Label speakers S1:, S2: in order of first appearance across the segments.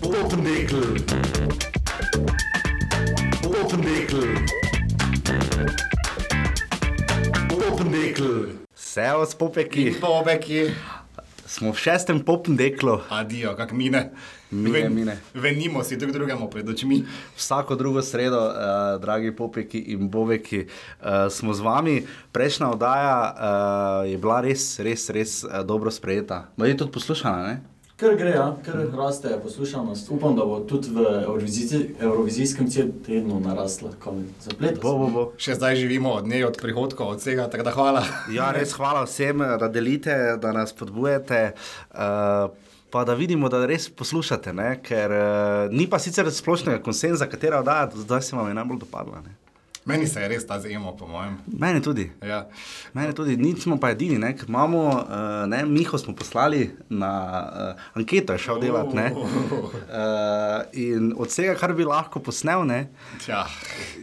S1: Potendekkel. Potendekkel. Potendekkel.
S2: Vse od popeki,
S3: In pobeki,
S2: smo v šestem popendeklu,
S3: adijo, kak mine.
S2: Mine, mine.
S3: Venimo si drug drugemu pred očmi.
S2: vsako drugo sredo, eh, dragi popeki in bobeki, eh, smo z vami. Prejšnja oddaja eh, je bila res, res, res eh, dobro sprejeta. Bila je tudi poslušana, ne?
S4: Ker gre, ja, ker raste poslušanost. Upam, da bo tudi v Eurovizici- evrovizijskem cel- tednu narasla. Zaplet.
S2: Bo, bo, bo.
S3: Še zdaj živimo od nje, od prihodkov, od vsega, tako da hvala.
S2: Ja, res hvala vsem, eh, da delite, da nas podbujate. eh, Pa da vidimo, da res poslušate, ne? ker uh, ni pa sicer splošnega konsenza, katera oddaja do zdaj se vam je najbolj dopadla. Ne?
S3: Meni se je res ta zima, po mojem.
S2: Mene tudi.
S3: Ja.
S2: Mene tudi, nismo pa edini, ne, ker imamo, uh, ne, Miho smo poslali na uh, anketo, je šel delati. ne. Uh, in od vsega, kar bi lahko posnel, ne,
S3: Ja,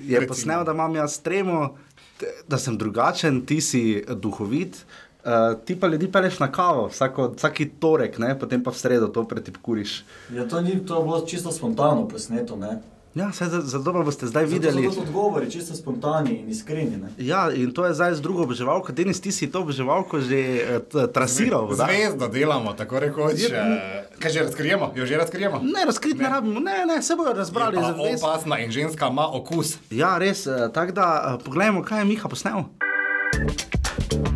S2: je posnel, da imam jaz tremo, t- da sem drugačen, ti si duhovit. Uh, ti pa ljudi peleš na kavo, vsako, vsaki torek, ne? potem pa v sredo to pretipkuriš.
S4: Ja, to, ni, to je bilo čisto spontano posneto. Ne?
S2: Ja, saj za- zato pa boste zdaj videli.
S4: Zato so tudi odgovori čisto spontani in iskreni. Ne?
S2: Ja, in to je zdaj z drugo obževalko. Denis, ti si to obževalko že eh, t- trasiral. da?
S3: Zvezdo delamo, tako rekoč. eh, Kaj že razkrijemo? Jo že razkrijemo?
S2: Ne, razkrit ne, ne rabimo, ne, ne, se
S3: Je
S2: bojo
S3: pa
S2: razbrali za vse.
S3: Opasna in ženska ima okus.
S2: Ja, res, eh, tako da eh, poglejmo, kaj je Miha posnel.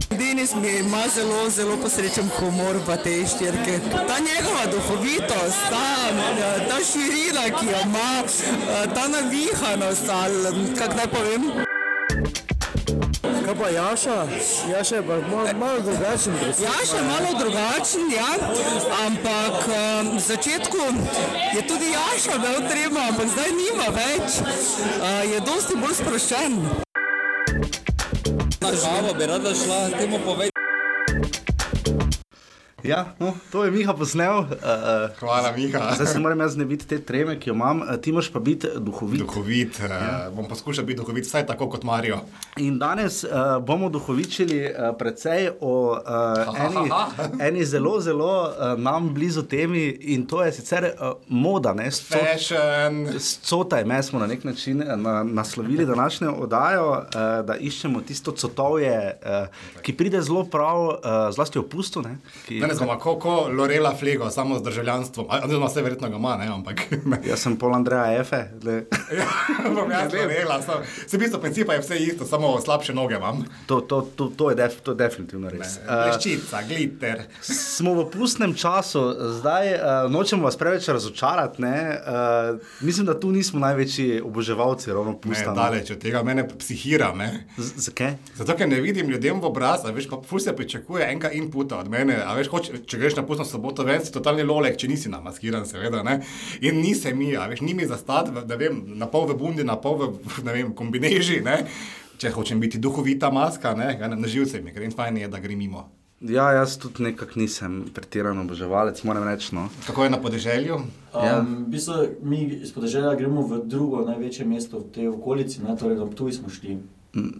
S5: Denis mi ima zelo, zelo posrečen humor v tej štirki. Ta njegova duhovitost, ta, eh, ta širina, ki jo ima, eh, ta navihanost, ali kako naj povem.
S6: Kaj pa Jaša? Jaša je pa malo, malo drugačen.
S5: Ja, še malo drugačen, ja, ampak eh, v začetku je tudi Jaša imel tremo, ampak zdaj nima več. Eh, Je dosti bolj sproščen. Na žavo bi rada šla, temu povej.
S2: Ja, no, to je Miha posnel. eh, eh,
S3: Hvala, Mika.
S2: Zdaj se moram jaz ne biti te treme, ki jo imam, eh, ti moraš pa biti duhovit.
S3: Duhovit, ja. bom poskušal biti duhovit, vsaj tako kot Marijo.
S2: In danes uh, bomo duhovičili uh, precej o uh, eni, eni zelo, zelo uh, nam blizu temi in to je sicer uh, moda, ne, s to
S3: Fashion.
S2: S cotaj, mi smo na nek način eh, na, naslovili današnjo oddajo, uh, da iščemo tisto cotovje, uh, ki pride zelo prav, uh, zlasti v pustu. Ne, ki,
S3: Danes bomo kot ko Lorela Flego, samo z državljanstvom. Oziroma, vse verjetno ga ima, ne? ampak ne.
S2: jaz sem pol Andreja Efe. le.
S3: Ja, bom jaz Lorela. samo- Saj v bistvu principa je vse isto, samo slabše noge imam.
S2: To, to, to, to, je def, to je definitivno res. Eh,
S3: Leščica, gliter.
S2: Smo v pustnem času, zdaj uh, nočemo vas preveč razočarati. ne, eh, mislim, da tu nismo največji oboževalci, ravno
S3: Ne,
S2: pusta. no.
S3: daleč od tega, mene psihira. Ne?
S2: Z- Zakaj?
S3: Zato, ker ne vidim ljudem v obraz, a veš, pa ful se pričakuje enega inputa od mene. a Veš, hoč, če greš na pustno soboto ven, si totalni lolek, če nisi namaskiran, seveda. Ne? In ni se mi, a veš, ni mi zastat, v- ne vem, na pol v bundi, na pol v ne vem, kombineži. Ne? Če hočem biti duhovita maska, ne, ja, na- na živce mi, ker in fajn je, da gre mimo.
S2: Ja, jaz tudi nekako nisem pretirano oboževalec, moram reči. No.
S3: Kako je na podeželju?
S2: Ja.
S4: Um, v bistvu, mi iz podeželja gremo v drugo največje mesto v tej okolici, ne, torej na Ptuj smo šli,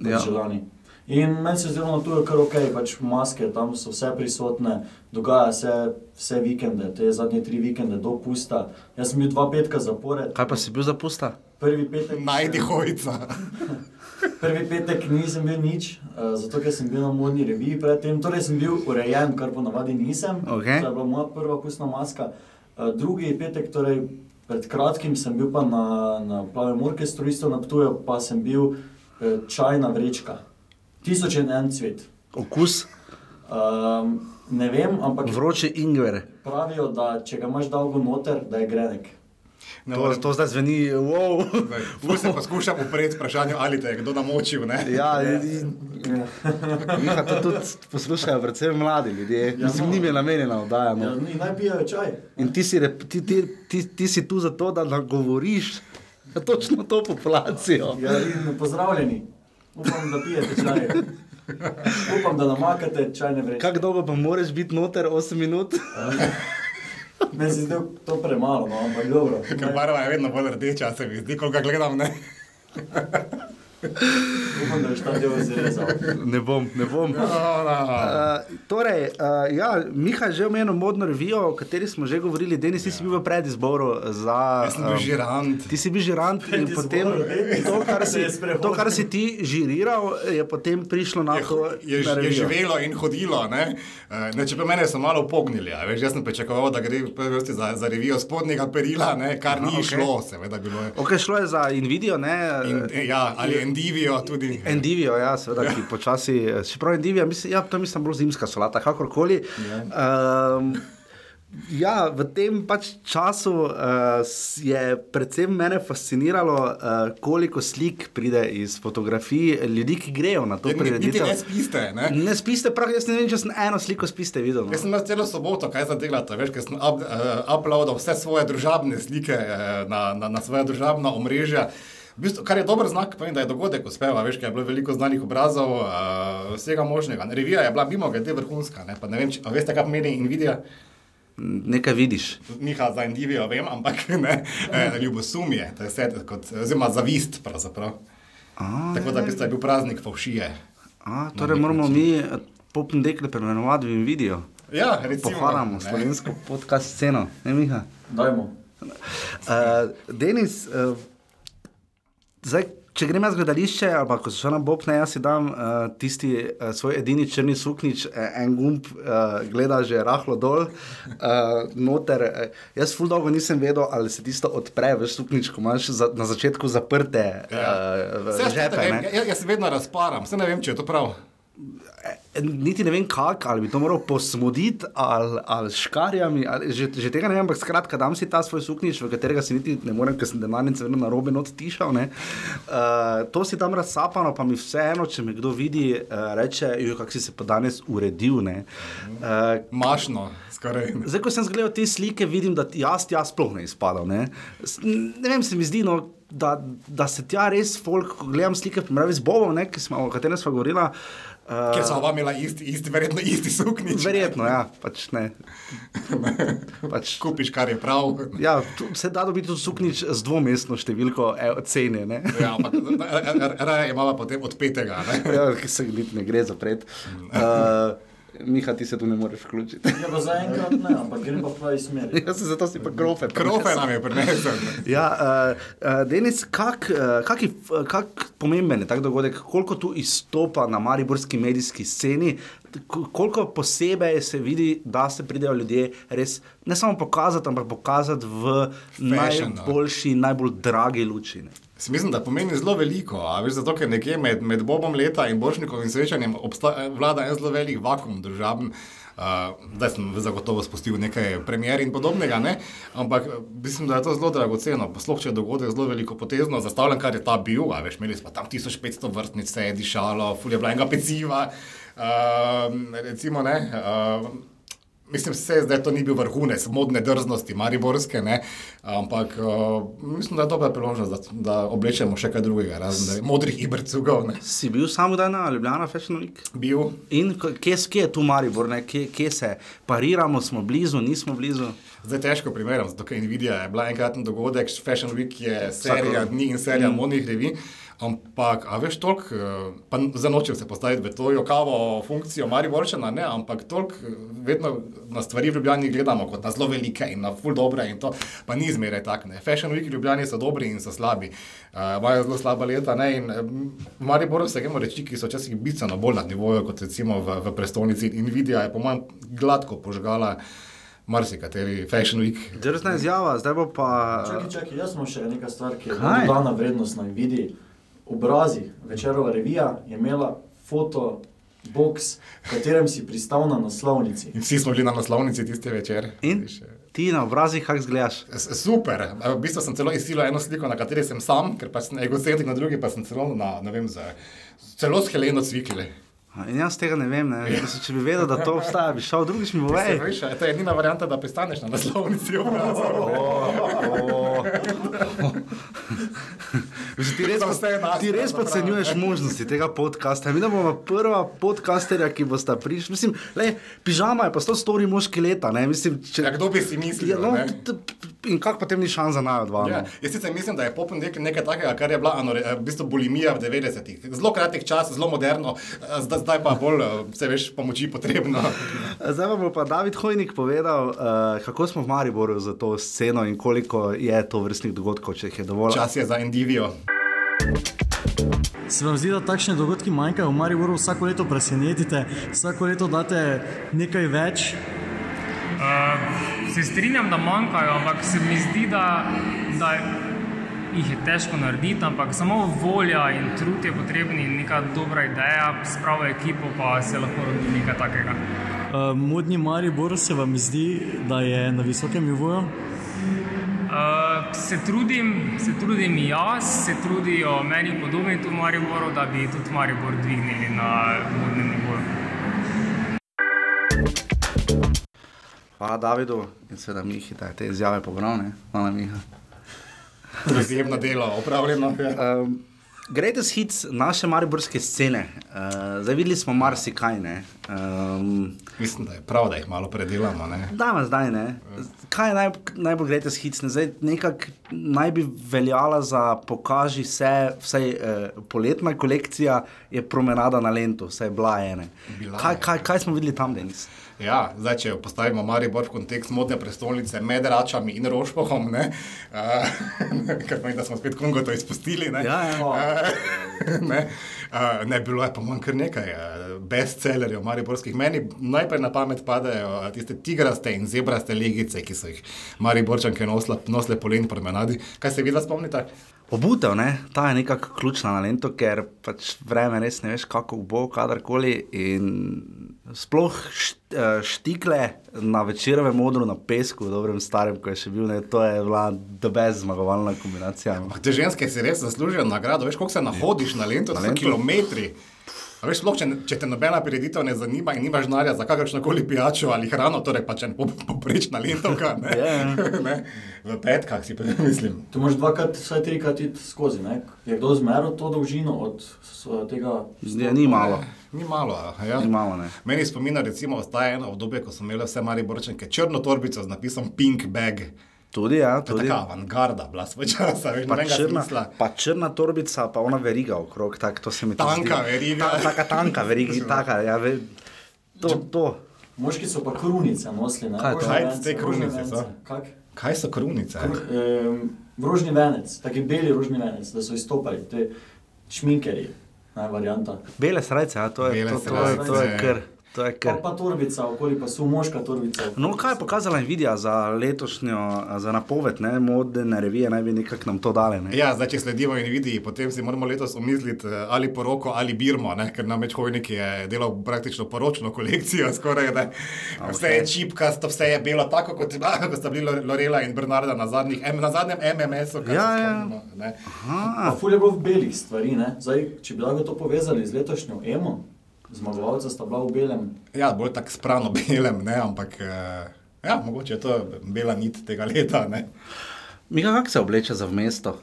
S2: ja.
S4: državljani. In meni se zdi, da tu je kar ok, pač maske tam so vse prisotne, dogaja se vse vikende, te zadnje tri vikende do pusta. Jaz sem bil dva petka zapored,
S2: Kaj pa si bil za pusta?
S4: prvi petek,
S3: Najdi hojica.
S4: prvi petek nisem bil nič, uh, zato ker sem bil na modni reviji predtem, torej sem bil urejen, kar ponavadi nisem.
S2: Okej.
S4: To je bila moja prva pustna maska. Uh, drugi petek, torej pred kratkim, sem bil pa na, na plavem orkestru, isto na Ptuju, pa sem bil uh, čajna vrečka. Tisoč in en cvet.
S2: Okus,
S4: Um, ne vem, ampak
S2: vroče ingver.
S4: pravijo, da če ga imaš dolgo noter, da je grenek.
S3: Ne
S2: To,
S3: morem-
S2: to zdaj zveni, wow.
S3: Zdaj, Ful se poskušam upreti vprašanju, ali te je kdo namočil. Ne?
S2: Ja, in- Miha, to tudi poslušajo predvsem mladi ljudje.
S4: Ja,
S2: Mislim,
S4: no.
S2: njim je namenjena oddaja.
S4: Ja,
S2: No.
S4: in naj pijajo čaj.
S2: In ti si, rep, ti, ti, ti, ti si tu zato, da nagovoriš točno to populacijo.
S4: Ja, in pozdravljeni. Upam, da pijete čaj. Upam, da namakate čajne vreče.
S2: Kako dolgo pa moraš biti noter, 8 minut?
S4: Meni se zdi to premalo, no, ampak dobro.
S3: Ker barva je vedno bolj rdeča, se mi zdi, ko ga gledam. Ne?
S4: Upam, da boš ta del zrezal.
S2: Ne bom, ne bom. Uh, Ja. torej, uh, ja, Miha je že omenil modno revijo, o kateri smo že govorili. Denis, ti si bil v predizboru za.
S3: Jaz sem bil
S2: um,
S3: žirant.
S2: Ti si bil žirant in
S4: Predizbor,
S2: potem
S4: Denis,
S2: to, kar si,
S4: se je sprehodil.
S2: to, kar si ti žiriral, je potem prišlo na
S3: Je,
S2: to.
S3: je,
S2: na
S3: je
S2: revijo.
S3: živelo in hodilo. Ne? Eh, Ne, čeprav mene so malo pognili, a veš, jaz sem pričakoval, da gre v prvi vrsti za, za revijo spodnjega perila, ne? kar ni
S2: okej.
S3: okay. šlo, seveda bilo je.
S2: Ok, šlo je za Nvidijo, ne?
S3: In, eh, ja, ali endivijo tudi.
S2: Endivijo, ja, seveda, ki počasi, eh, čeprav Endivija, mislim, ja, to mislim, bila zimska solata, kakorkoli.
S3: Ja.
S2: Um, ja, v tem pač času uh, je predvsem mene fasciniralo, uh, koliko slik pride iz fotografij ljudi, ki grejo na to
S3: Ja, Ni- Niti
S2: prireditev.
S3: ne spiste. Ne?
S2: Ne spiste, prav, jaz ne vem, če sem eno sliko spiste videl.
S3: Jaz
S2: No.
S3: sem imel celo soboto, kaj zdaj delate, veš, ker sem up, uh, uploadal vse svoje družabne slike eh, na, na, na svoje družabna omrežja. V bistvu, kar je dober znak, pomeni, da je dogodek uspeva, veš, ker je bilo veliko znanih obrazov, uh, vsega možnega. Revija je bila mimo grede vrhunska, ne, pa ne vem, če, a veste, kaj pomeni Nvidia,
S2: Nekaj vidiš.
S3: Miha za Nvidijo vem, ampak ne, eh, ljubosumje, to je vse kot, oziroma zavist pravzaprav.
S2: A,
S3: Tako da v bistvu je bil praznik favšije. No,
S2: A, torej moramo mi eh, popn dekle premenovati v Nvidijo.
S3: Ja, recimo. ne.
S2: Pohvalamo slovensko podcast sceno, ne Miha?
S4: Dajmo.
S2: Uh, Denis, uh, zdaj, če grem jaz gledališče, ali pa ko se šel na Bob, ne jaz si dam uh, tisti uh, svoj edini črni suknič, eh, en gumb uh, gleda že rahlo dol, uh, noter. Uh, jaz ful dolgo nisem vedel, ali se tisto odpre, veš, suknič, ko imaš za, na začetku zaprte uh,
S3: Vse, Ja. jaz, ja,
S2: žepe.
S3: vem,
S2: ne.
S3: jaz, jaz se vedno razparam, vse ne vem, če je to prav.
S2: Niti ne vem, kako, ali bi to moral posmoditi, ali, ali s škarjami, ali, že, že tega ne vem, ampak skratka, dam si ta svoj suknič, v katerega si niti ne morem, ker sem denarnice vedno na robe not tišal. Uh, to si tam razsapano, pa mi vseeno, če me kdo vidi, uh, reče, kako si se pa danes uredil. ne." Uh,
S3: Mašno, skoraj.
S2: Zdaj, ko sem gledal te slike, vidim, da jaz tja sploh ne izpadam. Ne, S- ne vem, se mi zdi, no, da, da se tja res folk, ko gledam slike, primerjavi z Bobom, ne, ki smo, o katerem smo govorili. Uh,
S3: Ker so oba imela isti, isti verjetno isti suknič.
S2: Verjetno, ja, pač ne. Pač,
S3: Kupiš, kar je prav.
S2: ja, tu se da dobiti tudi suknič z dvomestno številko e, cene. Ne?
S3: Ja, ampak ra- ra- raje imamo potem od petega. Ne?
S2: Ja, ki se niti ne gre zapret. Uh, Miha, ti se tu ne moreš vključiti.
S4: Ja, pa zaenkrat ne, ampak grem pa v pravi smeri.
S2: Jaz sem zato si pa grofe.
S3: Krofe nam je prinesel.
S2: Ja, uh, uh, Denis, kak, uh, kak, je, f- kak pomemben je tak dogodek, koliko tu izstopa na mariborski medijski sceni, K- koliko posebej se vidi, da se pridejo ljudje res ne samo pokazati, ampak pokazati v
S3: Fashion,
S2: najboljši, najbolj dragi luči. Ne.
S3: S- Mislim, da pomeni zelo veliko. a Veš, zato, ker nekje med, med Bobom leta in Božnikovim srečanjem obsta- eh, vlada en zelo velik vakum državen. Uh, zdaj sem zagotovo spustil nekaj premjer in podobnega, ne? ampak eh, mislim, da je to zelo dragoceno. Sploh če je dogodek zelo veliko potezno, zastavljen, kar je ta bil. a Veš, imeli smo tam 1500 vrtnic, se je dišalo, fulje bila enega peciva. Uh, recimo, ne. Uh, Mislim, se, zdaj to ni bil vrhunec modne drznosti, mariborske, ne? ampak uh, mislim, da je dobra priložnost, da, da oblečemo še kaj drugega, razen da je modrih ibrcugov. ne.
S2: Si bil samo dan na Ljubljana Fashion Week?
S3: Bil.
S2: In k- kje, s- kje je tu Maribor, ne? kje, kje se pariramo, smo blizu, nismo blizu.
S3: Zdaj težko primerjam, zato ker Nvidia je bila enkraten dogodek, Fashion Week je serija dni in serija mm. modnih revij. Ampak, a veš, toliko, eh, pa zanočil se postaviti v to jokavo funkcijo Mariborčana, ne, ampak toliko eh, vedno na stvari v Ljubljani gledamo kot na zelo velike in na ful dobre in to, pa ni zmeraj tak, ne. Fashion Week v Ljubljani so dobri in so slabi, Eh, imajo zelo slaba leta, ne, in eh, v Mariboru se gremo reči, ki so včasih bistveno bolj na nivoju kot recimo v, v prestolnici in Nvidia je po mojem gladko požgala marsikateri Fashion Week.
S2: Drzna izjava, zdaj bo pa.
S4: Čakaj, čakaj, jaz imam še neka stvar, ki je bila
S2: Kaj?
S4: dodana vrednost na vidi. Obrazi, večerova revija je imela foto box, v katerem si pristal na naslovnici.
S3: In vsi smo bili na naslovnici tiste večer.
S2: In ti na obrazih, kak zgledaš?
S3: S- Super, v bistvu sem celo izsilil eno sliko, na kateri sem sam, ker pa sem egocentrik, na drugi pa sem celo, na, ne vem, za, celo s Heleno Cvikli.
S2: A, In jaz tega ne vem, ne. Mislim, če bi vedel, da to obstaja, bi šel drugič mi
S3: Ej,
S2: povej.
S3: veš, to je edina varianta, da pristaneš na naslovnici obrazov.
S2: Mislim, Ti res,
S3: To vse je naša,
S2: ti res
S3: pravzaprav,
S2: podcenjuješ možnosti tega podcasta. Mi bomo prva podcasterja, ki bosta prišla. Mislim, le, pižama je pa 100 stori moški leta. Ne? Mislim, če,
S3: Ja, kdo bi si mislil,
S2: Ja, no,
S3: ne?
S2: t- p- in kako potem ni šans za najo dva. no.
S3: Ja,
S2: Yeah.
S3: jaz sicer mislim, da je popoln rekel nekaj takega, kar je bila anore, eh, v bistvu bulimija v 90-ih. Zelo kratek čas, zelo moderno, eh, zda, zdaj pa bolj, eh, vse veš, pomoči potrebno.
S2: Zdaj vam bo pa David Hojnik povedal, uh, kako smo v Mariboru za to sceno in koliko je to vrstnih dogodkov, če jih je dovolj.
S3: Čas je za Endivijo.
S1: Se vam zdi, da takšne dogodki manjkajo v Mariboru, vsako leto presenetite, vsako leto date nekaj več.
S7: Se strinjam, da manjkajo, ampak se mi zdi, da, da jih je težko narediti, ampak samo volja in trud je potrebni in neka dobra ideja, s pravo ekipo pa se lahko rodi nekaj takega.
S1: Uh, modni Maribor se vam zdi, da je na visokem nivoju.
S7: Uh, se trudim, se trudim jaz, se trudijo meni podobni tu v Mariboru, da bi tudi Maribor dvignili na modnem nivoju.
S2: Hvala Davidu in seveda Mihi, da je te izjave pobral, ne? Hvala Miha.
S3: Izjemno delo, opravljeno. Ja.
S2: Um, Greatest hits naše mariborske scene. Uh, zdaj videli smo marsikaj. ne. Um,
S3: Mislim, da je prav, da jih malo predelamo. Ne?
S2: Danes, zdaj ne. Kaj je naj, najbolj greatest hits? Ne? Zdaj nekako naj bi veljala za pokaži se, vsaj eh, poletna kolekcija je promenada na Lento, vsaj bila je ena.
S3: Bila
S2: Kaj,
S3: je.
S2: kaj, kaj smo videli tam danes?
S3: Ja, zdaj, če postavimo Maribor v kontekst modne prestolnice med Račami in Rošpohom, ne, uh, kar pomeni, da smo spet Kongo to izpustili. Ne,
S2: Ja, ja.
S3: Eh, ne, uh, ne bilo je pa manj kar nekaj eh, bestsellerjev mariborskih. Meni najprej na pamet padajo tiste tigraste in zebraste legice, ki so jih mariborčanke nosla, nosile po leni promenadi. Kaj se vi dva spomnite?
S2: Obutev, ne? ta je nekako ključna na Lento, ker pač vreme res ne veš, kako bo, kadarkoli. In sploh št, eh, štikle na večerovem modru na pesku, v dobrem starem, ko je še bil, ne? to je bila debes zmagovalna kombinacija. no.
S3: Ampak te ženske si res zaslužijo nagrado, veš, koliko se nahodiš na lento, na
S2: Ja. Na
S3: lento.
S2: lento.
S3: kilometri. A veš, sploh, če, ne- če te nobena prireditev ne zanima in nimaš denarja za kakršno koli pijačo ali hrano, torej pa če ne poprečna lentovka, ne,
S2: Ja,
S3: yeah. ne, v petkah si pa mislim.
S4: Ti moraš dvakrat, vsaj trikrat iti skozi. Ne? Je kdo zmeril to dolžino od s- tega?
S2: Ja, ni malo.
S3: Ni malo. a Ja.
S2: Ni malo, ne.
S3: Meni spomina, recimo, ostaje eno obdobje, ko so imele vse mari borčenke črno torbico z napisom Pink Bag.
S2: Tudi, ja,
S3: To je
S2: tudi.
S3: taka avangarda, bila svoj čas, a veš,
S2: Pa
S3: nobenega
S2: črna,
S3: smisla.
S2: pa črna torbica, pa ona veriga okrog, tak, to se mi tudi
S3: Tanka
S2: zdi.
S3: veriga.
S2: Ta, taka tanka veriga, taka, ja, ve, to, to.
S4: Moški so pa krunice nosili. ne,
S2: Kaj je to?
S4: rožne
S3: Kaj
S4: vence,
S3: te krunice
S4: rožne
S3: so?
S4: vence. Kak?
S3: Kaj so krunice?
S4: Em, Rožni venec, taki beli rožni venec, da so izstopali, te šminkerji, naj varianta.
S2: Bele srajce, ja, to je,
S3: Bele
S2: to, to, to, je- to
S3: srajce.
S2: je kar. To je
S4: Pa,
S2: kar.
S4: pa torbica, okoli pa so moška torbica.
S2: No, kaj je pokazala Nvidia za letošnjo, za napoved, ne, modne revije, naj bi nekako nam to dale. Ne.
S3: Ja, zdaj, če sledimo in vidi, potem si moramo letos omisliti eh, ali poroko ali Birmo, ne? ker nam več hojnik je delal praktično poročno kolekcijo, skoraj da okay. vse je čipkasto, vse je belo, tako kot, tako, kot sta bili Lore- Lorela in Bernarda na, zadnjih, em- na zadnjem MMS-u. kar se
S2: Ja, ja.
S3: spomnimo, ne.
S4: Pa ful je bilo belih stvari, ne? Zdaj, če bi lahko to povezali z letošnjo emo, zmagovalca sta bila v belem.
S3: ja, bolj tako sprano belem, ne? ampak eh, ja, mogoče je to bela nit tega leta. Ne?
S2: Mika, kako se obleče za v mesto?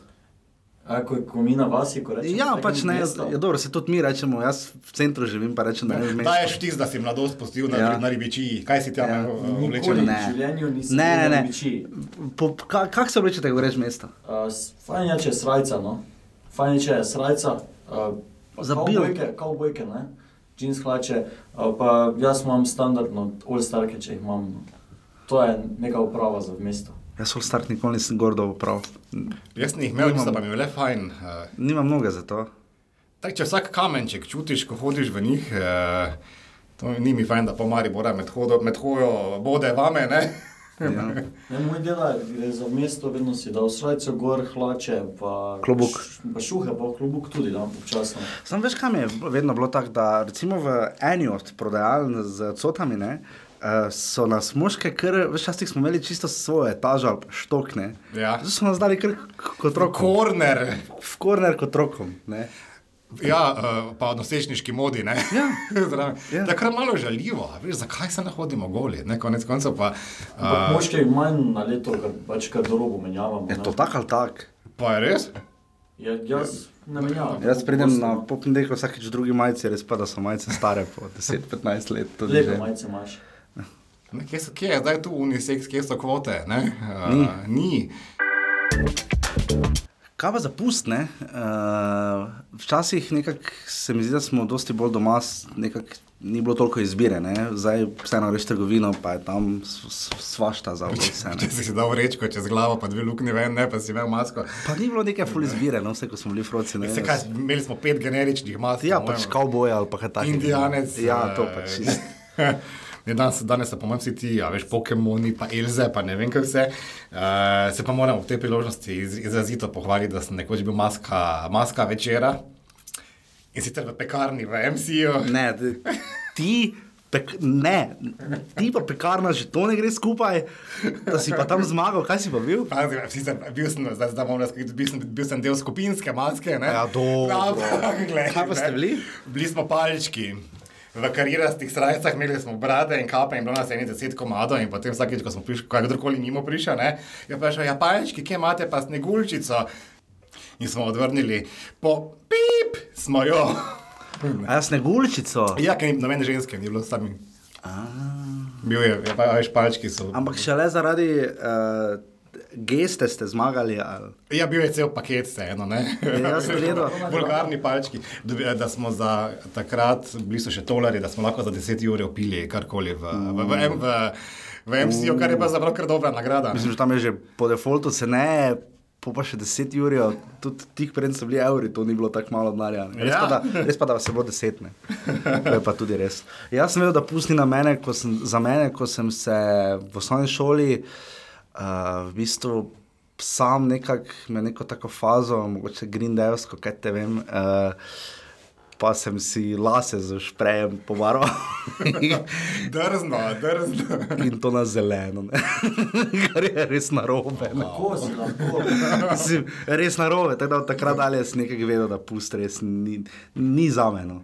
S4: A, ko, ko mi na vasi, ko rečemo,
S2: Ja,
S4: tako
S2: pač ne,
S4: mesto.
S2: je dobro, se tudi mi rečemo, jaz v centru živim, pa rečem, da ne v mestu.
S3: Daješ vtis, da si mladost pustil na, ja.
S2: Ja.
S3: na ribičiji, kaj si tam
S2: Ja.
S3: ja. vlečeš?
S4: Nikoli
S2: Ne.
S4: v življenju nisem
S2: Ne, ne,
S4: videl
S2: ne.
S4: biči.
S2: Po- ka- Kako se oblečete, ko rečeš mesto?
S4: Uh, s- fajn je, če je srajca, no. Fajn je, če je srajca. Uh,
S2: Za
S4: kavbojke, kavbojke, ne. Jeans hlače, uh, pa jaz imam no, standardno all-starke, če jih imam. No. To je neka uprava za v mesto.
S2: Jaz sem star, nikoli nisem gordo prav.
S3: Jaz nisem imel, nisem pa mi je le fajn. eh,
S2: Nimam mnoge za to.
S3: Tak, če vsak kamenček čutiš, ko hodiš v njih, eh, to ni mi fajn, da pomari bora med, hodo, med hojo bode vame. Ne?
S2: Ja.
S4: Ne, moj dela gre za v mesto, vedno si dal srajco, gor, hlače, pa,
S2: Klobuk.
S4: š- pa šuhe, pa klobuk tudi dam občasno.
S2: Sam veš, kam je vedno bilo tako, da recimo v eni od prodajaln z cotami ne, eh, so nas moške, ker veš, časih smo imeli čisto svojo etažo ali pa štok.
S3: Ja.
S2: Zdaj so nas dali kar k- kot rokom.
S3: Korner,
S2: V korner kot rokom. Ne.
S3: ja, eh, pa nosečniški modi. Ne?
S2: Ja.
S3: Zraven.
S2: Ja.
S3: Tako je malo žaljivo, a veš, zakaj se ne hodimo goli, ne? konec koncev pa,
S4: Ampak
S3: eh,
S4: moški je manj na leto, ker pač kar dolobo menjavamo.
S2: Je
S4: ne.
S2: E, to tako ali tako.
S3: pa je res.
S4: Ja, jaz ne menjavam.
S2: Jaz pridem
S4: Pogosto,
S2: na
S4: no.
S2: popendeko vsakeč v drugi majici, res pa da so majice stare po 10-15 let. tudi
S4: Lepe
S2: že.
S4: majice imaš.
S3: Ne, Kje, so, kje je zdaj tu unisex, kje so kvote? Ne? Uh, ni.
S2: Kaj pa za pust, ne? Uh, včasih nekako se mi zdi, da smo dosti bolj doma, s- nekako ni bilo toliko izbire, ne? Zdaj vseeno reš trgovino, pa je tam s- s- svašta za vse. ne.
S3: Če si si dal rečko čez glavo, pa dve luknje ven, ne, pa si imel masko.
S2: Pa ni bilo neke full izbire, no vse, ko smo bili froci. Ne,
S3: Se kaj, imeli smo pet generičnih mask.
S2: Ja,
S3: po
S2: pač
S3: mojem.
S2: kavboj ali pa kaj takega.
S3: Indijanec.
S2: Ja, to
S3: eh,
S2: pač. čist.
S3: Ne, danes, danes se, po mojem, vsi ti, a veš, Pokemoni, pa Elze, pa ne vem, kaj vse. Uh, se pa moram ob tej priložnosti iz, izrazito pohvaliti, da sem nekoč bil maska, maska večera in sicer v pekarni, v MCU.
S2: Ne, ti- ti, pek, ne, ti pa pekarna že to ne gre skupaj, da si pa tam zmagal, kaj si pa bil?
S3: Pazi, ja, sicer, bil, sem, zdaj, zdaj bom razkril, bil, sem, bil sem del skupinske maske. Ne?
S2: Ja, dobro.
S3: Ampak, glej,
S2: Kaj pa ste
S3: ne.
S2: bili?
S3: Bili smo palčki. V karirastih srajcah imeli smo brade in kape in bilo nas je nekaj deset komadov in potem vsakeč, ko smo prišli, kakorkoli njimo prišel, ne, je vprašal, ja, palčki, kje imate pa sneguljčico? In smo odvrnili, po pip smo jo.
S2: A jaz ne gulčico.
S3: Ja, ker ni noben ženske, ni bilo sami. Bil je, je pa veš, palčki so.
S2: Ampak šele zaradi uh, geste ste zmagali. Ali...
S3: Ja, bil je cel paket, vseeno. ne.
S2: Ja, jaz sem gledal.
S3: Vulgarni palčki. Dobi- eh, Da smo za takrat, bili so še tolarji, da smo lahko za 10 ur opili karkoli v, v, v, M- v, v MCO, kar je pa zapravo kar dobra nagrada.
S2: Mislim, že tam je že po defaultu se ne. Po pa še 10 ur, tudi tih pred so bili evri, to ni bilo tako malo denarja. ne. Res,
S3: Ja.
S2: pa, da, res pa, da se bo deset, ne. To je pa tudi res. Jaz sem vedel, da pusti na mene, ko sem, za mene, ko sem se v osnovni šoli uh, v bistvu sam nekako, me neko tako fazo, mogoče grindevsko, kaj te vem. Uh, Pa sem si lase z šprejem pobarval
S3: Drzno, drzno.
S2: in to na zeleno, ne. kar je res narobe. Ne.
S4: Kako si lahko?
S2: Mislim, res na robe, tako da od takrat dalje sem nekaj vedel, da pust res ni, ni za mene. no.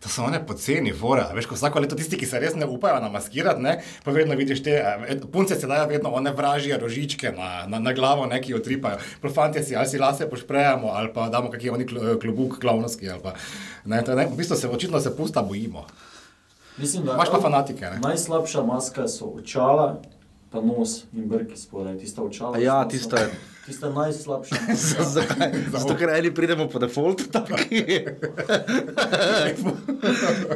S3: To so one poceni, fora. Veš, ko vsako leto tisti, ki se res ne upajo namaskirati, ne, pa vedno vidiš te, eh, punce se dajo vedno one vražje rožičke na, na, na glavo, ne, ki jo tripajo. Profantje si ali si lase pošprejamo, ali pa damo kakšen oni kl, klobuk klavnovski. ali Pa, ne, to, je ne, v bistvu se očitno se pusta bojimo.
S4: Mislim, da,
S3: Imaš pa fanatike, ne?
S4: Najslabša maska so očala, pa nos in brki spodaj. Tista očala.
S2: Ja,
S4: s nosom-
S2: tisto je.
S4: Tista najslabša. maska.
S2: Zakaj? Zato, ker eni pridemo po defaultu, taki.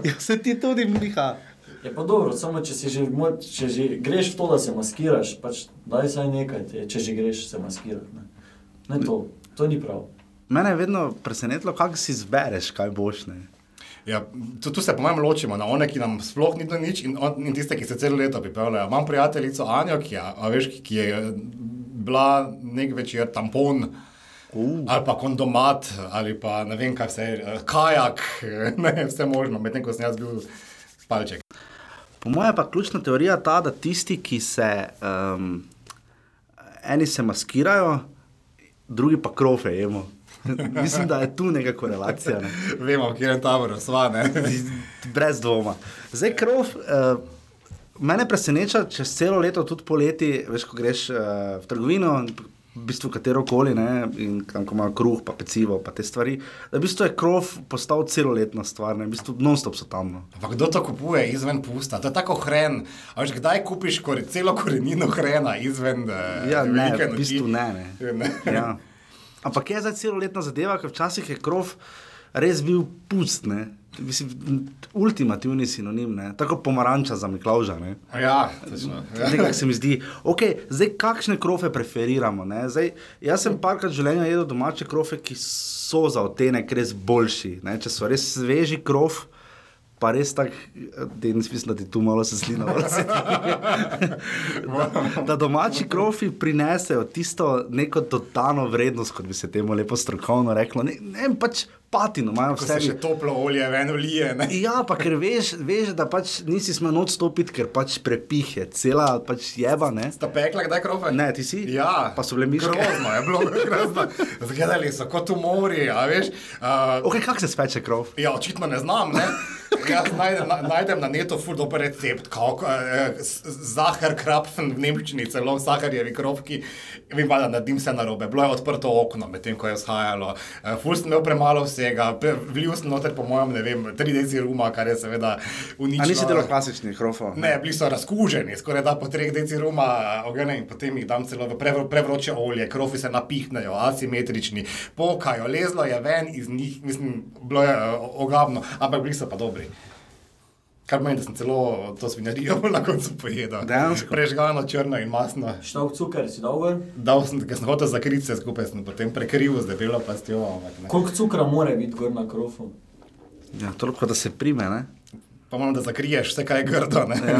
S2: ja, se ti tudi mliha.
S4: Je pa dobro, samo če, si že, mo- če že greš v to, da se maskiraš, pač daj saj nekaj, te, če že greš se maskirati. Ne, ne to, to ni prav.
S2: Mene je vedno presenetilo, kako si izbereš, kaj boš. Ne.
S3: Ja, tu, tu se, po mojem, ločimo na one, ki nam sploh ni do nič, in, on, in tiste, ki se celo leto pripeljejo. Imam prijateljico Anjo, ki je, a veš, ki- ki je bila nek večer tampon. Uh. Ali pa kondomat, ali pa ne vem, kaj vse, eh, kajak, ne, vse možno, medtem ko sem jaz bil palček.
S2: Po mojem pa ključna teorija ta, da tisti, ki se um, eni se maskirajo, drugi pa krofe jemo. Mislim, da je tu neka korelacija. Ne.
S3: Vemo, kje je tabor, sva ne.
S2: Brez dvoma. Zdaj, krov. Uh, Mene preseneča, če celo leto, tudi poleti, veš, ko greš uh, v trgovino, in p- v bistvu katero koli, ne, in tam, ko ima kruh, pa pecivo, pa te stvari, da v bistvu je krov postal celoletna stvar, ne, v bistvu non-stop so tam. No.
S3: Ampak kdo to kupuje izven pusta? To je tako hren. A veš, kdaj kupiš kore, celo korenino hrena izven? eh,
S2: Ja, ne,
S3: velike
S2: v
S3: noči?
S2: bistvu ne. ne. Ja. Ampak je zdaj celoletna zadeva, ker včasih je krov res bil pust, ne. Mislim, ultimativni sinonim, ne. tako pomaranča za Miklauža. Ne.
S3: Ja, točno. Ja.
S2: Nekako se mi zdi, okay, zdaj kakšne krofe preferiramo. ne? Zdaj, jaz sem parkrat v življenju jedel domače krofe, ki so za odtenek res boljši. Ne? Če so res sveži krof, pa res tako, Denis, mislim, da ti tu malo seslina. da, da domači krofi prinesejo tisto neko dodano vrednost, kot bi se temu lepo strokovno reklo. Ne, ne vem, pač patino imajo
S3: Ko
S2: vse.
S3: se še toplo olje, eno lije. Ne?
S2: Ja, pa ker veš, veš da pač nisi smel odstopiti, ker pač prepih je, cela pač jeba. Ne?
S3: Sta pekla, kdaj krofe?
S2: Ne, ti si?
S3: Ja,
S2: Pa so bile miške?
S3: Grozno je bilo, grozno. Zgledali so kot v morju, a veš. Uh,
S2: Ok, kako se speče krov?
S3: ja, očitno ne znam, ne. Jaz najdem na, najdem na netu ful dober recept, kako eh, zahar krapfen v Nemčiji, celo zaharjevi kropki. Mi pa da naredim vse narobe. Bilo je odprto okno, medtem ko je vzhajalo. Eh, ful sem imel premalo vsega, pe- vlil sem noter, po mojem, ne vem, 30 ruma, kar je seveda uničilo.
S2: A nisi delal klasičnih rofov?
S3: Ne, bili so razkuženi, skoraj da po treh deci ruma, ogene in potem jih dam celo v prevro- prevroče olje, krofi se napihnejo, asimetrični, pokajo, lezlo je ven iz njih, mislim, bilo je eh, ogabno, ampak bili so pa dobri. Kar pomeni, da sem celo to svinjarijo na koncu pojedel.
S2: Dejansko?
S3: Prežgano, črno in masno.
S4: Štav cukor si dal gor.
S3: Dal sem, ker sem hotel zakriti se skupaj, sem potem prekril z debelo pastjo. ampak ne.
S4: Koliko cukra more biti gor na krofu?
S2: Ja, toliko, da se prime, ne?
S3: Pa moram, da zakriješ vse, kar je grdo. ne.
S2: Ja.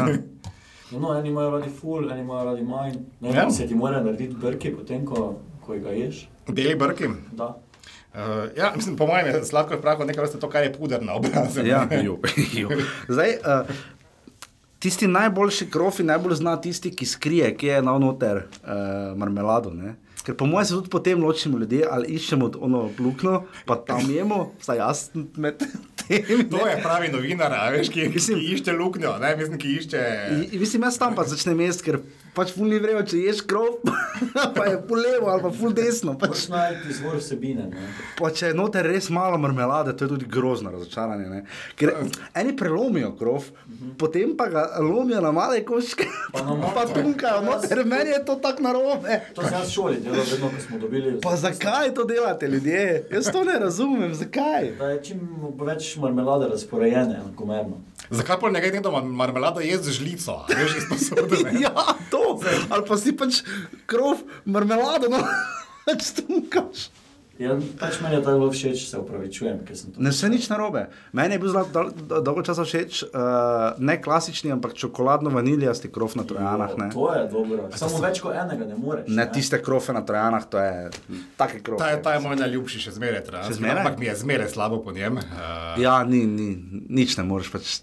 S4: No, No, eni imajo radi full, eni imajo radi manj. Ne,
S3: Ja.
S4: ja. Se ti mora narediti brki, potem ko, ko ga ješ.
S3: Beli brki.
S4: Da.
S3: Uh, ja, mislim, po mojem je sladkor prah nekaj vrste to, kar je puder na obrazu.
S2: Ja, ju, ju. Zdaj, uh, tisti najboljši krofi najbolj zna tisti, ki skrije, ki je na noter uh, marmelado. Ne? Ker po mojem se tudi potem ločimo ljudi, ali iščemo ono luknjo, pa tam jemo, vsaj jaz med tem.
S3: To je pravi novinar, a veš, ki,
S2: Mislim-
S3: ki išče luknjo, ne, mislim, ki išče.
S2: In mislim, jaz tam pa začnem jesti, ker pač ful ni vrejo, če ješ krov, pa je ful levo ali pa ful desno. Pač.
S4: Moraš najti izvor vsebine. Ne?
S2: Pa če je noter res malo marmelade, to je tudi grozno razočaranje. Ne? Ker
S4: Ja.
S2: eni prelomijo krov, potem pa ga lomijo na male koščke,
S4: Pa na malo.
S2: pa tunkajo noter, meni je to tako narobe.
S4: To sem jaz v šoli delal, vedno ko smo dobili.
S2: Pa zakaj to delate, ljudje? Jaz to ne razumem, zakaj.
S4: Da je čim več marmelade razporejene, enakomerno.
S3: Zakaj pa nekaj nekdo marmelado je z žlico, a veš, iz posode? ne.
S2: Ja, to, ali pa si pač krov, marmelado, no, pač tunkaš.
S4: Ja, pač meni je tako bilo všeč, se upravičujem, ker sem to.
S2: Ne, vse nič narobe. Meni je bil zelo dol, do- dolgo časa všeč, uh, ne klasični, ampak čokoladno-vanilijasti krof na trojanah. Ne,
S4: To je dobro. Samo več kot enega ne moreš.
S2: ne tiste krofe na trojanah, to je take krofe.
S3: Ta, je- ta je moj najljubši, še zmeraj traja.
S2: Še zmeraj?
S3: Ampak mi je zmeraj slabo po njem. Uh,
S2: Ja, ni, ni, nič ne moreš, pač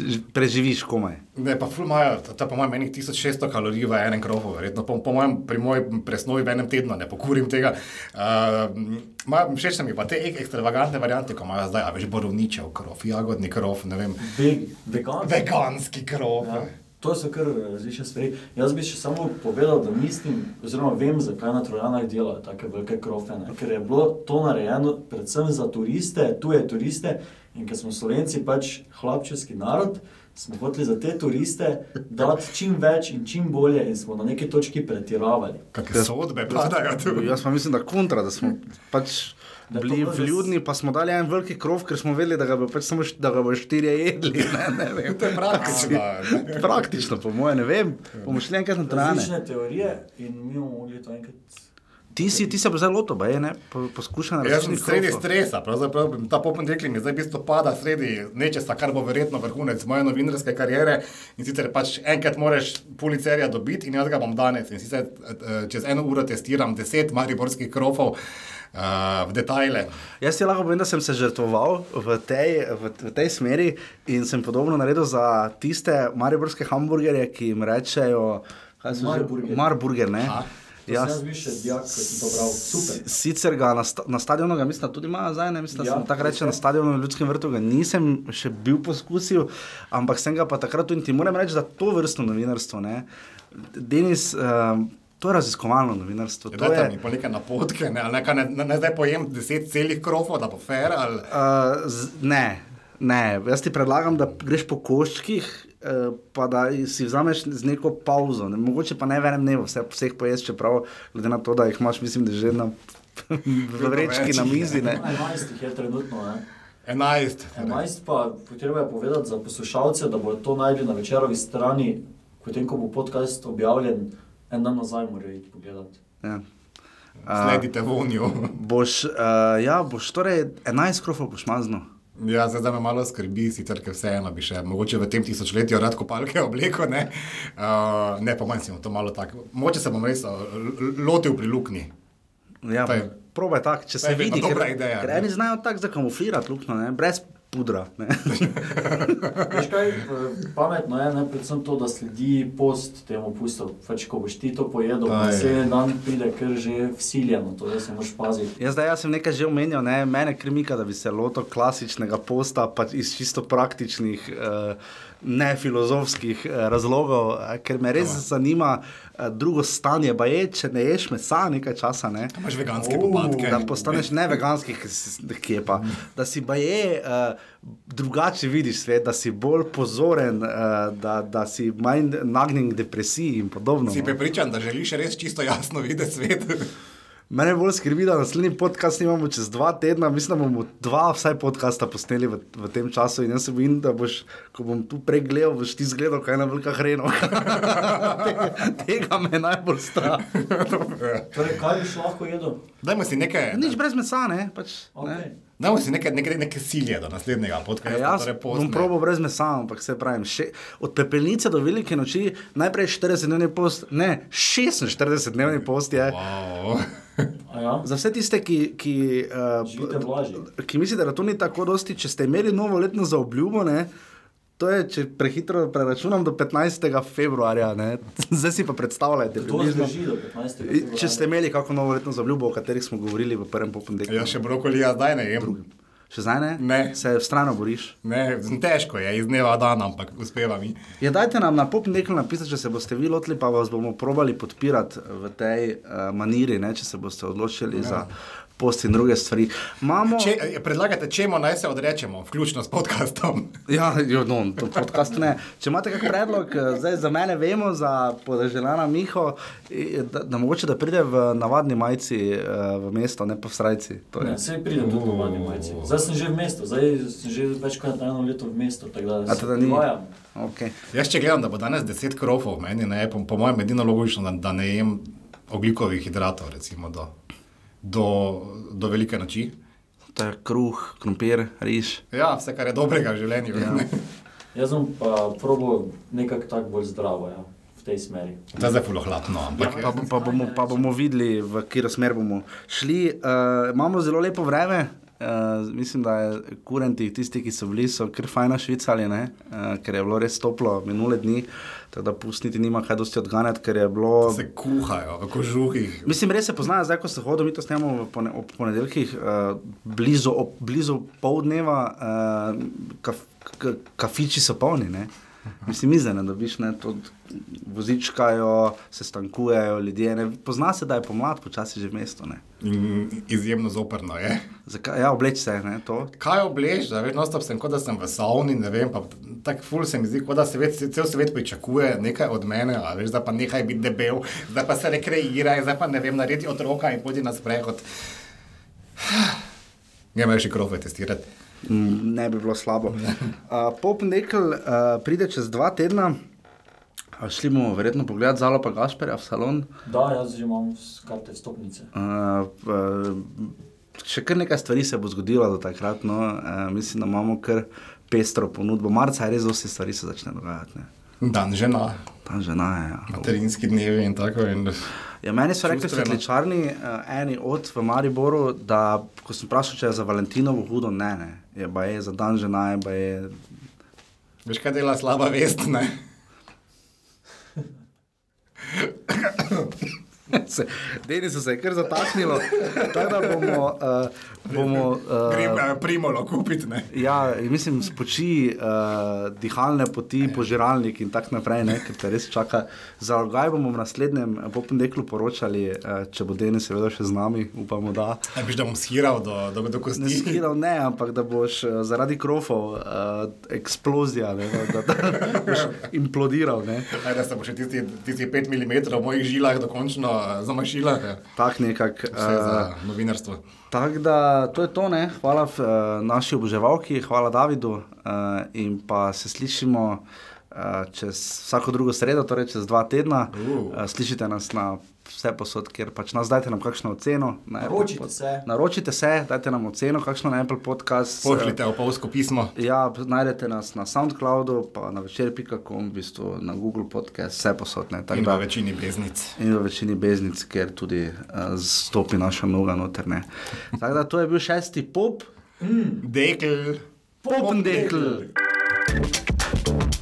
S2: ž- preživiš komaj.
S3: ne, pa ful imajo, ta- ta po mojem meni 1600 kalorij v enem krovu, verjetno. Po, po mojem, pri moji presnovi v enem tednu ne pokurim tega. Uh, všeč se mi pa te ek- ekstravagantne variante, ko imajo zdaj, a veš, borovničev krov, jagodni krov, ne vem,
S4: Ve, vegan.
S3: veganski krov.
S4: Ja.
S3: Ja.
S4: To so kar različne stvari. Jaz bi še samo povedal, da mislim, oziroma vem, zakaj na Trojanah delajo tako velike krofe. Ne? Ker je bilo to narejeno predvsem za turiste, tuje turiste in ker smo Slovenci pač hlapčevski narod. Smo hoteli za te turiste dati čim več in čim bolje, in smo na neki točki pretiravali.
S3: Kakšne sodbe padajo tu?
S2: Jaz pa mislim, da kontra, da smo pač
S4: Da to
S2: bili
S4: bo res-
S2: vljudni, pa smo dali en veliki krov, ker smo vedeli, da ga bo, pač samo, št- da ga bo štirje jedli. Ne, ne vem.
S3: To je praktično.
S2: Praktično, po mojem, ne vem. Bomo šli enkrat na trajanje.
S4: Različne teorije in mi bomo mogli to enkrat.
S2: Ti si, ti se pa zelo lotoba, je ne, Po- poskušam
S3: Ja, Jaz sem
S2: različnih
S3: sredi
S2: krofov.
S3: stresa, pravzaprav bi- ta popend rekli mi zdaj v bistvu pada sredi nečesa, kar bo verjetno vrhunec moje novinarske kariere in sicer pač enkrat moraš policerja dobiti in jaz ga bom danes in sicer eh, čez eno uro testiram deset mariborskih krofov eh, v detajle.
S2: Jaz ti lahko povem, da sem se žrtvoval v tej, v, v tej smeri in sem podobno naredil za tiste mariborske hamburgerje, ki jim rečejo kaj se že-
S4: Marburger.
S2: Marburger ne?
S4: To
S2: Ja,
S4: sem Jaz bi še dijak, ko sem to bral, super.
S2: s- Sicer ga na, sta, na stadionu, ga mislim, da tudi ima zdaj, ne mislim, da
S4: Ja,
S2: ja, tako reče
S4: res je.
S2: na stadionu na ljudskem vrtu, ga nisem še bil poskusil, ampak sem ga pa takrat tudi in ti moram reči, da to vrstno novinarstvo, ne, Denis, um, to je raziskovalno novinarstvo.
S4: Ja,
S3: Je
S2: to
S3: da
S2: je,
S3: mi pa neke napotke, ne, ali neka ne, ne, ne zdaj pojem deset celih krofov, da bo fair ali...
S2: Uh, z, ne, ne, jaz ti predlagam, da greš po koščkih, uh, pa da si vzameš z neko pauzo. Ne, mogoče pa ne v enem dnevu, vse, vseh poješ, čeprav glede na to, da jih imaš, mislim, da že na v vrečki na mizi. Ne.
S4: 11 jih je trenutno. Ne?
S3: 11.
S4: 11 pa potrebno je povedati za poslušalce, da bodo to najdli na večerovi strani, potem ko bo podcast objavljen, en dan nazaj morajo iti pogledati.
S2: Ja. Eh,
S3: Sledite vonju.
S2: Boš, uh, ja, boš torej 11 krofov boš mazno.
S3: Ja, zdaj zdaj me malo skrbi, sicer ker vseeno bi še mogoče v tem tisočletju rad kopalke obleko, ne, uh, ne pa manj si bom to malo tako. Mogoče se bom res uh, l- lotil pri luknji.
S2: Ja,
S3: To je-
S2: probaj tako, če
S3: to
S2: se
S3: je vedno
S2: vidi,
S3: dobra ideja,
S2: ker
S3: ne.
S2: eni znajo tako zakamuflirati luknjo, ne, brez pudra. ne.
S4: Veš kaj, eh, pametno je, ne, predvsem to, da sledi post temu pustu. Pač, ko boš ti to pojedel,
S3: Aj.
S4: naslednji dan pride kar že vsiljeno, to da se moraš paziti.
S2: Jaz, zdaj, jaz sem nekaj že omenil, ne? mene krimika, da bi se lotil klasičnega posta, pač iz čisto praktičnih, eh, ne filozofskih eh, razlogov, eh, ker me res zanima eh, drugo stanje. Pa je, če ne ješ mesa nekaj časa, ne?
S3: Imaš veganske Mm. popadke.
S2: da postaneš ne veganski, ki je pa. Da si pa je uh, drugače vidiš svet, da si bolj pozoren, uh, da, da si manj nagnjen k depresiji in podobno.
S3: Si
S2: no.
S3: prepričan, da želiš res čisto jasno videti svet.
S2: Mene bolj skrbi, da naslednji podcast imamo čez dva tedna, mislim, da bomo dva, vsaj podcasta posneli v, v tem času. In jaz se bojim, da boš, ko bom tu pregledal, boš ti zgledal, kaj je na velika hrena. tega, tega me najbolj strah.
S4: Torej, kaj boš lahko jedel?
S3: Dajmo si nekaj,
S2: Nič brez mesa, ne? Pač,
S4: Okay.
S2: ne?
S3: dajmo si nekaj, nekaj, nekaj silje do naslednjega
S2: Ja,
S3: podcasta.
S2: jaz
S3: torej postne.
S2: bom probo brez mesa, ampak se pravim, še, od pepelnice do velike noči, najprej 40-dnevni post, ne, 46-dnevni post je.
S3: Wow.
S4: A Ja?
S2: Za vse tiste, ki, ki,
S4: Živite v laži.
S2: uh, ki mislite, da to ni tako dosti, če ste imeli novoletno zaobljubo, ne, to je, če prehitro preračunam, do 15. februarja. Ne. Zdaj si pa predstavljajte,
S4: To
S2: približno.
S4: zdrži do 15.
S2: I- Če ste
S4: februarja.
S2: imeli kakšno novoletno zaobljubo, o katerih smo govorili v prvem popolnilnem.
S3: Jaz še brokolija zdaj ne jem.
S2: Še zdaj ne?
S3: Ja. Ne.
S2: Se vstrano boriš.
S3: Ne, težko je, iz dneva v dan, ampak uspeva mi.
S2: Ja, dajte nam na popolnilniku napisati, če se boste vi lotili, pa vas bomo probali podpirati v tej uh, maniri, ne, če se boste odločili ja. za post in druge stvari. Imamo...
S3: Če, eh, predlagate, čemu naj se odrečemo, vključno s podcastom?
S2: Ja, jo, no, to podcast ne. Če imate kakšen predlog, eh, zdaj za mene vemo, za podeželjana Miho, eh, da, da mogoče da pride v navadni majici eh, v mesto, ne pa v srajci. To je.
S4: Ne, sej pridem tudi v manj majci. Zdaj sem že v mestu, zdaj sem že več kot eno leto v mestu, tako
S2: A
S4: da se
S2: to da ni?
S4: privajam.
S2: Okay.
S3: Jaz če gledam, da bo danes 10 krofov, meni ne, po, po mojem edino logično, da, da ne jem oglikovih hidratov, recimo do, do, do velike noči.
S2: To je kruh, krompir, riž.
S3: Ja, vse, kar je dobrega v življenju. Ja.
S4: Jaz bom pa probo nekako tako bolj zdravo, ja, v tej smeri.
S3: To je zdaj fulo hladno, ampak
S2: Ja, Pa, bo- pa, bomo, pa bomo videli, v katero smer bomo šli. Uh, imamo zelo lepo vreme. Uh, mislim, da je kurenti, tisti, ki so bili, so kar fajna švicali, uh, ker je bilo res toplo minule dni, tako da pustiti nima kaj dosti odganjati, ker je bilo
S3: se kuhajo v kožuhih.
S2: Mislim, res se pozna, zdaj ko se hodil, mi to snemamo v pone, ob ponedeljkih, uh, blizu, ob, blizu pol dneva, uh, kaf, k, kafiči so polni. Ne? Mislim, mize ne dobiš, ne? to vozičkajo, se stankujejo ljudje. Ne? Pozna se, da je pomlad, počasi že mesto. Ne?
S3: In izjemno zoprno je.
S2: Zakaj, ja, obleč se, ne, to.
S3: Kaj oblež, da veš, nostop sem kot da sem v savni, ne vem, pa tako ful se mi zdi, kot da se več, cel svet pričakuje nekaj od mene, a veš, da pa nehaj biti debel, zdaj pa se rekreiraj, zdaj pa ne vem, naredi otroka in pojdi na sprehod. Ne moreš še krove testirati.
S2: Mm, ne bi bilo slabo. Uh, Pop nekaj uh, pride čez dva tedna, uh, šli bomo verjetno pogledat zalo pa Gašperja v salon.
S4: Da, jaz že imam s- karte vstopnice.
S2: Uh, uh, še kar nekaj stvari se bo zgodilo do takrat. No. Uh, mislim, da imamo kar pestro ponudbo. Marca je res dosti stvari se začne dogajati. Ne.
S3: Dan žena,
S2: Tam žena je. Ja.
S3: materinski dnevi in tako. In...
S2: Ja, meni so rekli,
S3: Čustveno.
S2: svetličarni, uh, eni od v Mariboru, da ko sem vprašal, če je za Valentinovo hudo, ne, ne. Je pa je za dan žena, je pa je.
S3: Veš, kaj dela slaba vest, ne?
S2: Se- Deni so se je kar zataknilo, tako da bomo. Uh, bomo uh,
S3: Grem eh, primolo kupiti, ne?
S2: Ja, in mislim, spoči uh, dihalne poti, požiralnik in tako naprej, ne, ker te res čaka. Za Algaj bomo v naslednjem popendeklu poročali, uh, če bo Denis seveda še z nami, upamo da.
S3: Ne biš, da bom shiral do, do, do
S2: Ne
S3: kosti.
S2: skiral, ne, ampak da boš eh, zaradi krofov, uh, eksplozija, ne, da, da, da boš
S3: Ja.
S2: implodiral. Ne.
S3: Aj, da se bo še tisti, tisti 5 mm v mojih žilah dokončno eh, zamašila. eh.
S2: Tak nekak.
S3: Vse
S2: eh,
S3: za novinarstvo.
S2: Tako da to je to, ne? hvala uh, naši oboževalki, hvala Davidu uh, in pa se slišimo uh, čez vsako drugo sredo, torej čez dva tedna.
S3: Uh.
S2: Uh, slišite nas na vse posod, kjer pač nas dajte nam kakšno oceno. na Apple
S4: Naročite
S2: pod-
S4: se.
S2: Naročite se, dajte nam oceno, kakšno na Apple podcast.
S3: Pošljite opolsko pismo.
S2: Ja, najdete nas na SoundCloudu, pa na večer.com, v bistvu na Google podcast, vse posod. ne, tako
S3: In
S2: da-
S3: v večini breznic.
S2: In v večini beznic, ker tudi uh, stopi naša noga noter. ne. Tako da to je bil šesti pop.
S3: Dekl.
S2: Popendekl.